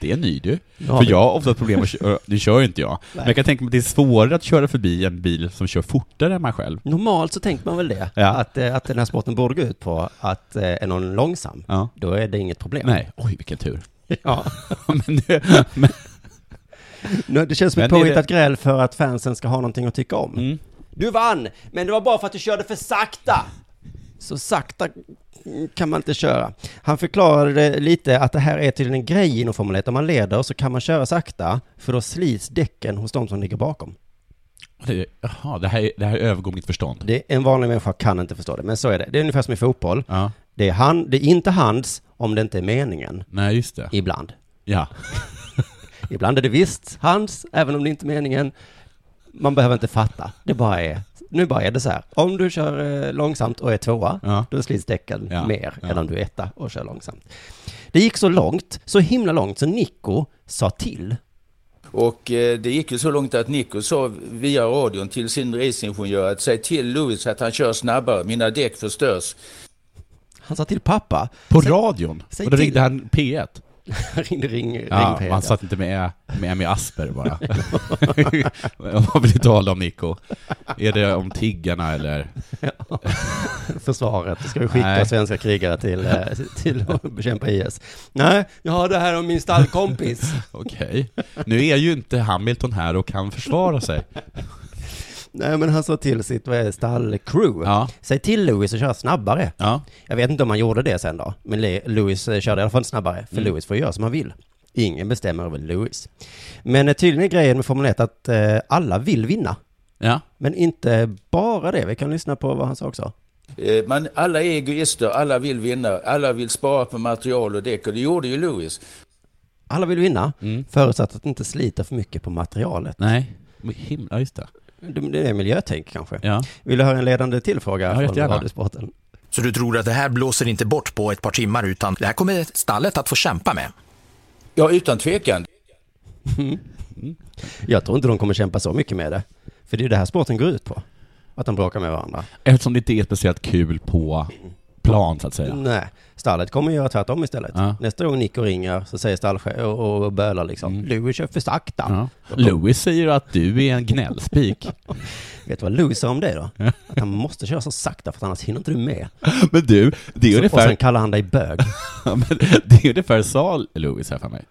Speaker 3: Det är ny du.
Speaker 4: Ja,
Speaker 3: För
Speaker 4: det-
Speaker 3: jag har ofta problem med att köra, nu kör ju inte jag, men jag kan tänka mig att det är svårare att köra förbi en bil som kör fortare än man själv.
Speaker 4: Normalt så tänker man väl det,
Speaker 3: Ja.
Speaker 4: att, eh, att den här sporten borde gå ut på att eh, är någon långsam,
Speaker 3: Ja.
Speaker 4: då är det inget problem.
Speaker 3: Nej, oj vilken tur.
Speaker 4: Ja.
Speaker 3: men, det- men,
Speaker 4: Nu, Det känns som ett
Speaker 3: Men är
Speaker 4: påhittat gräl för att fansen ska ha någonting att tycka om.
Speaker 3: Mm.
Speaker 4: Du vann, men det var bara för att du körde för sakta. Så sakta kan man inte köra. Han förklarade det lite att det här är tydligen en grej inom Formel 1. Om man leder så kan man köra sakta, för då slits däcken hos de som ligger bakom.
Speaker 3: det, jaha, det här, är- det här övergår mitt förstånd.
Speaker 4: Det, en vanlig människa kan inte förstå det, men så är det. Det är ungefär som i fotboll.
Speaker 3: Ja.
Speaker 4: Det är, han, det är inte hans om det inte är meningen,
Speaker 3: Nej, just det.
Speaker 4: ibland.
Speaker 3: Ja.
Speaker 4: Ibland är det visst hans, även om det inte är meningen. Man behöver inte fatta. Det bara är, nu bara är det så här. Om du kör eh, långsamt och är tvåa,
Speaker 3: Ja.
Speaker 4: då slits däcken
Speaker 3: Ja,
Speaker 4: mer
Speaker 3: ja.
Speaker 4: än om du är etta och kör långsamt. Det gick så långt, så himla långt, så Nico sa till.
Speaker 5: Och eh, det gick ju så långt att Nico sa via radion till sin racingingenjör att säg till Lewis att han kör snabbare, mina däck förstörs.
Speaker 4: Han sa till pappa.
Speaker 3: På
Speaker 4: Säg-
Speaker 3: radion?
Speaker 4: säg
Speaker 3: och då
Speaker 4: till.
Speaker 3: ringde han P1?
Speaker 4: ring, ring, ring
Speaker 3: Ja,
Speaker 4: Peter.
Speaker 3: han satt inte med, med med Asper bara. Vad vill du tala om Nico? Är det om tiggarna eller?
Speaker 4: försvaret. Ska vi skicka
Speaker 3: Nej.
Speaker 4: svenska krigare till, eh, till att bekämpa IS? Nej, jag har det här om min stallkompis.
Speaker 3: Okej. Nu är ju inte Hamilton här och kan försvara sig.
Speaker 4: Nej, men han sa till sitt vad är det, stallcrew.
Speaker 3: Ja.
Speaker 4: Säg till Lewis att köra snabbare.
Speaker 3: Ja.
Speaker 4: Jag vet inte om han gjorde det sen då, men Le- Lewis eh, körde i alla fall snabbare,
Speaker 3: Mm.
Speaker 4: för Lewis får göra som han vill. Ingen bestämmer över Lewis. Men eh, tydligen är grejen med Formel 1 att eh, alla vill vinna.
Speaker 3: Ja.
Speaker 4: Men inte bara det, vi kan lyssna på vad han sa också.
Speaker 5: Eh, Man, alla är egoister, alla vill vinna, alla vill spara på material och däck och det gjorde ju Lewis.
Speaker 4: Alla vill vinna,
Speaker 3: Mm.
Speaker 4: förutsatt att det inte sliter för mycket på materialet.
Speaker 3: Nej. Men Himla, ja, just det.
Speaker 4: Det det är miljötänk kanske.
Speaker 3: Ja.
Speaker 4: Vill du höra en ledande till fråga
Speaker 3: Ja,
Speaker 4: från
Speaker 3: jättegärna.
Speaker 4: Radiosporten?
Speaker 1: Så du tror att det här blåser inte bort på ett par timmar utan det här kommer stallet att få kämpa med?
Speaker 5: Ja, utan tvekan.
Speaker 4: Jag tror inte de kommer kämpa så mycket med det. För det är ju det här sporten går ut på. Att de bråkar med varandra.
Speaker 3: Eftersom det inte är speciellt kul på plan så att säga.
Speaker 4: Nej, stallet kommer göra tvärtom istället.
Speaker 3: Ja.
Speaker 4: Nästa gång Nico ringer så säger stallchefen och, och bölar liksom,
Speaker 3: Mm.
Speaker 4: Louis kör för sakta.
Speaker 3: Ja. Louis säger att du är en gnällspik.
Speaker 4: Vet du vad Louis sa om det då? Att han måste köra så sakta för att annars hinner inte du med.
Speaker 3: Men du, det är
Speaker 4: Så, och
Speaker 3: ungefär
Speaker 4: sen kallar han dig bög.
Speaker 3: Ja, men det är ungefär sa Lewis här för mig.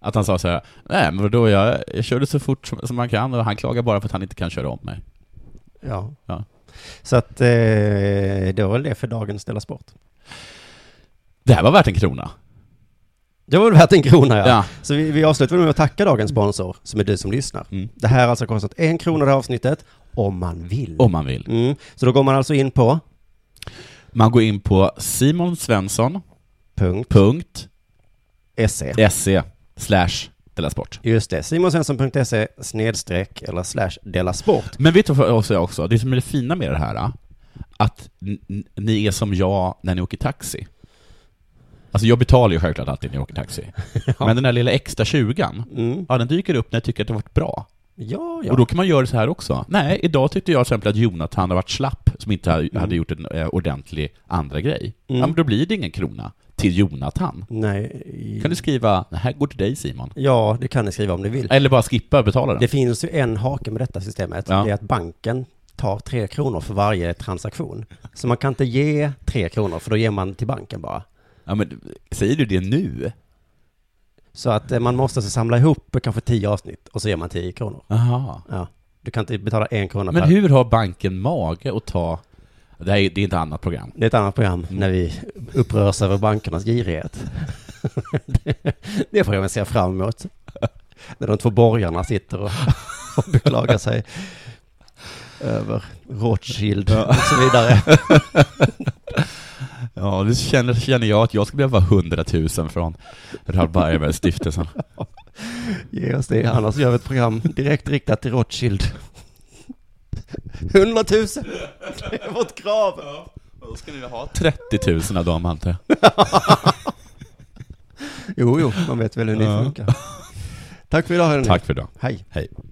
Speaker 3: Att han sa så här, nej men då jag, jag körde så fort som, som man kan och han klagar bara för att han inte kan köra om mig.
Speaker 4: Ja.
Speaker 3: Ja.
Speaker 4: Så att eh, det var väl det för dagens Della Sport.
Speaker 3: Det här var värt en krona.
Speaker 4: Det var väl värt en krona ja.
Speaker 3: Ja.
Speaker 4: Så vi, vi avslutar med att tacka dagens sponsor, som är du som lyssnar.
Speaker 3: Mm.
Speaker 4: Det här har alltså kostat en krona det här avsnittet, om man vill.
Speaker 3: Om man vill.
Speaker 4: Mm. Så då går man alltså in på
Speaker 3: Man går in på simonsvensson.se
Speaker 4: punkt E. .se.
Speaker 3: slash Della Sport.
Speaker 4: Just det, simonsvensson.se snedstreck eller slash dela sport.
Speaker 3: Men vet du vad jag säger också? Det som är det fina med det här, ah, att n- n- ni är som jag när ni åker taxi. Alltså jag betalar ju självklart alltid när jag åker taxi. Men den där lilla extra tjugan,
Speaker 4: Mm.
Speaker 3: ja den dyker upp när jag tycker att det har varit bra.
Speaker 4: Ja,
Speaker 3: Och
Speaker 4: ja.
Speaker 3: då kan man göra så här också. Nej, idag tyckte jag till exempel att Jonathan har varit slapp, som inte ha- hade gjort en eh, ordentlig andra grej.
Speaker 4: Mm.
Speaker 3: Ja, men då blir det ingen krona till Jonathan.
Speaker 4: Nej.
Speaker 3: Kan du skriva, det här går till dig Simon.
Speaker 4: Ja, det kan ni skriva om ni vill.
Speaker 3: Eller bara skippa och betala den.
Speaker 4: Det finns ju en hake med detta systemet.
Speaker 3: Ja.
Speaker 4: Det är att banken tar tre kronor för varje transaktion. Så man kan inte ge tre kronor, för då ger man till banken bara.
Speaker 3: Ja, men, säger du det nu?
Speaker 4: Så att eh, man måste alltså samla ihop kanske tio avsnitt och så ger man tio kronor.
Speaker 3: Aha.
Speaker 4: Ja. Du kan inte betala en krona
Speaker 3: Men
Speaker 4: per.
Speaker 3: hur har banken mage att ta... Det här är, det är inte annat program.
Speaker 4: Det är ett annat program
Speaker 3: Mm.
Speaker 4: när vi upprörs över bankernas girighet. det, det får jag väl se fram emot. När de två borgarna sitter och, och beklagar sig över Rothschild och så vidare.
Speaker 3: Ja, nu känner, känner jag att jag ska behöva 100 000 från Rabarberstiftelsen.
Speaker 4: Ge oss det, annars gör vi ett program direkt riktat till Rothschild. 100 000! Det är vårt krav!
Speaker 3: Då ska ni ha 30 000 av dem, antar jag.
Speaker 4: Jo, jo, man vet väl hur ni
Speaker 3: Ja.
Speaker 4: funkar. Tack för idag hörni.
Speaker 3: Tack för idag.
Speaker 4: Hej.
Speaker 3: Hej.